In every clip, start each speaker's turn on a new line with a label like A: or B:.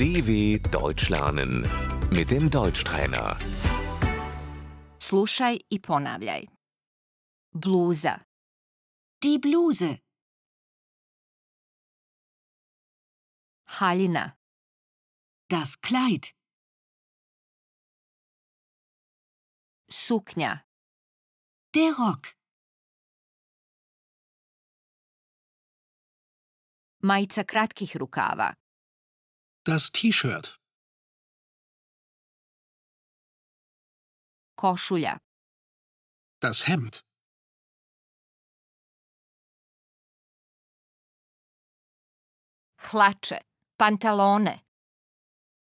A: DW Deutsch lernen mit dem Deutschtrainer.
B: Slušaj i ponavljaj. Bluza,
C: Die Bluse,
B: haljina,
C: das Kleid,
B: suknja,
C: der Rock,
B: majica kratkih rukava,
D: Das T-Shirt,
B: košulja,
D: das Hemd,
B: hlače, pantalone,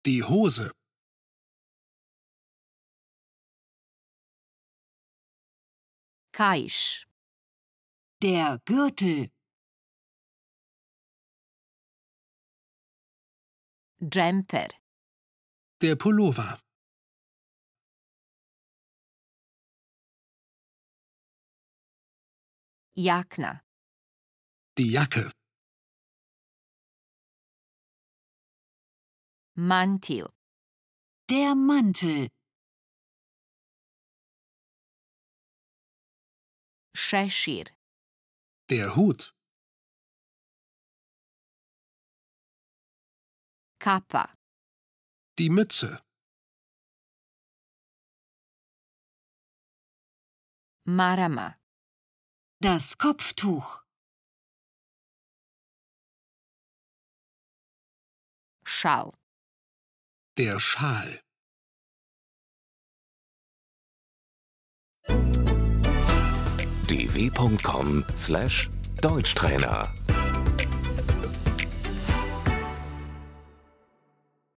D: die Hose,
B: kaiš,
C: der Gürtel,
B: džemper,
D: der Pullover,
B: jakna,
D: die Jacke,
B: mantil,
C: der Mantel,
B: šešir,
D: der Hut,
B: kapa,
D: die Mütze,
B: marama,
C: das Kopftuch,
B: šal,
D: der Schal.
A: dw.com/deutschtrainer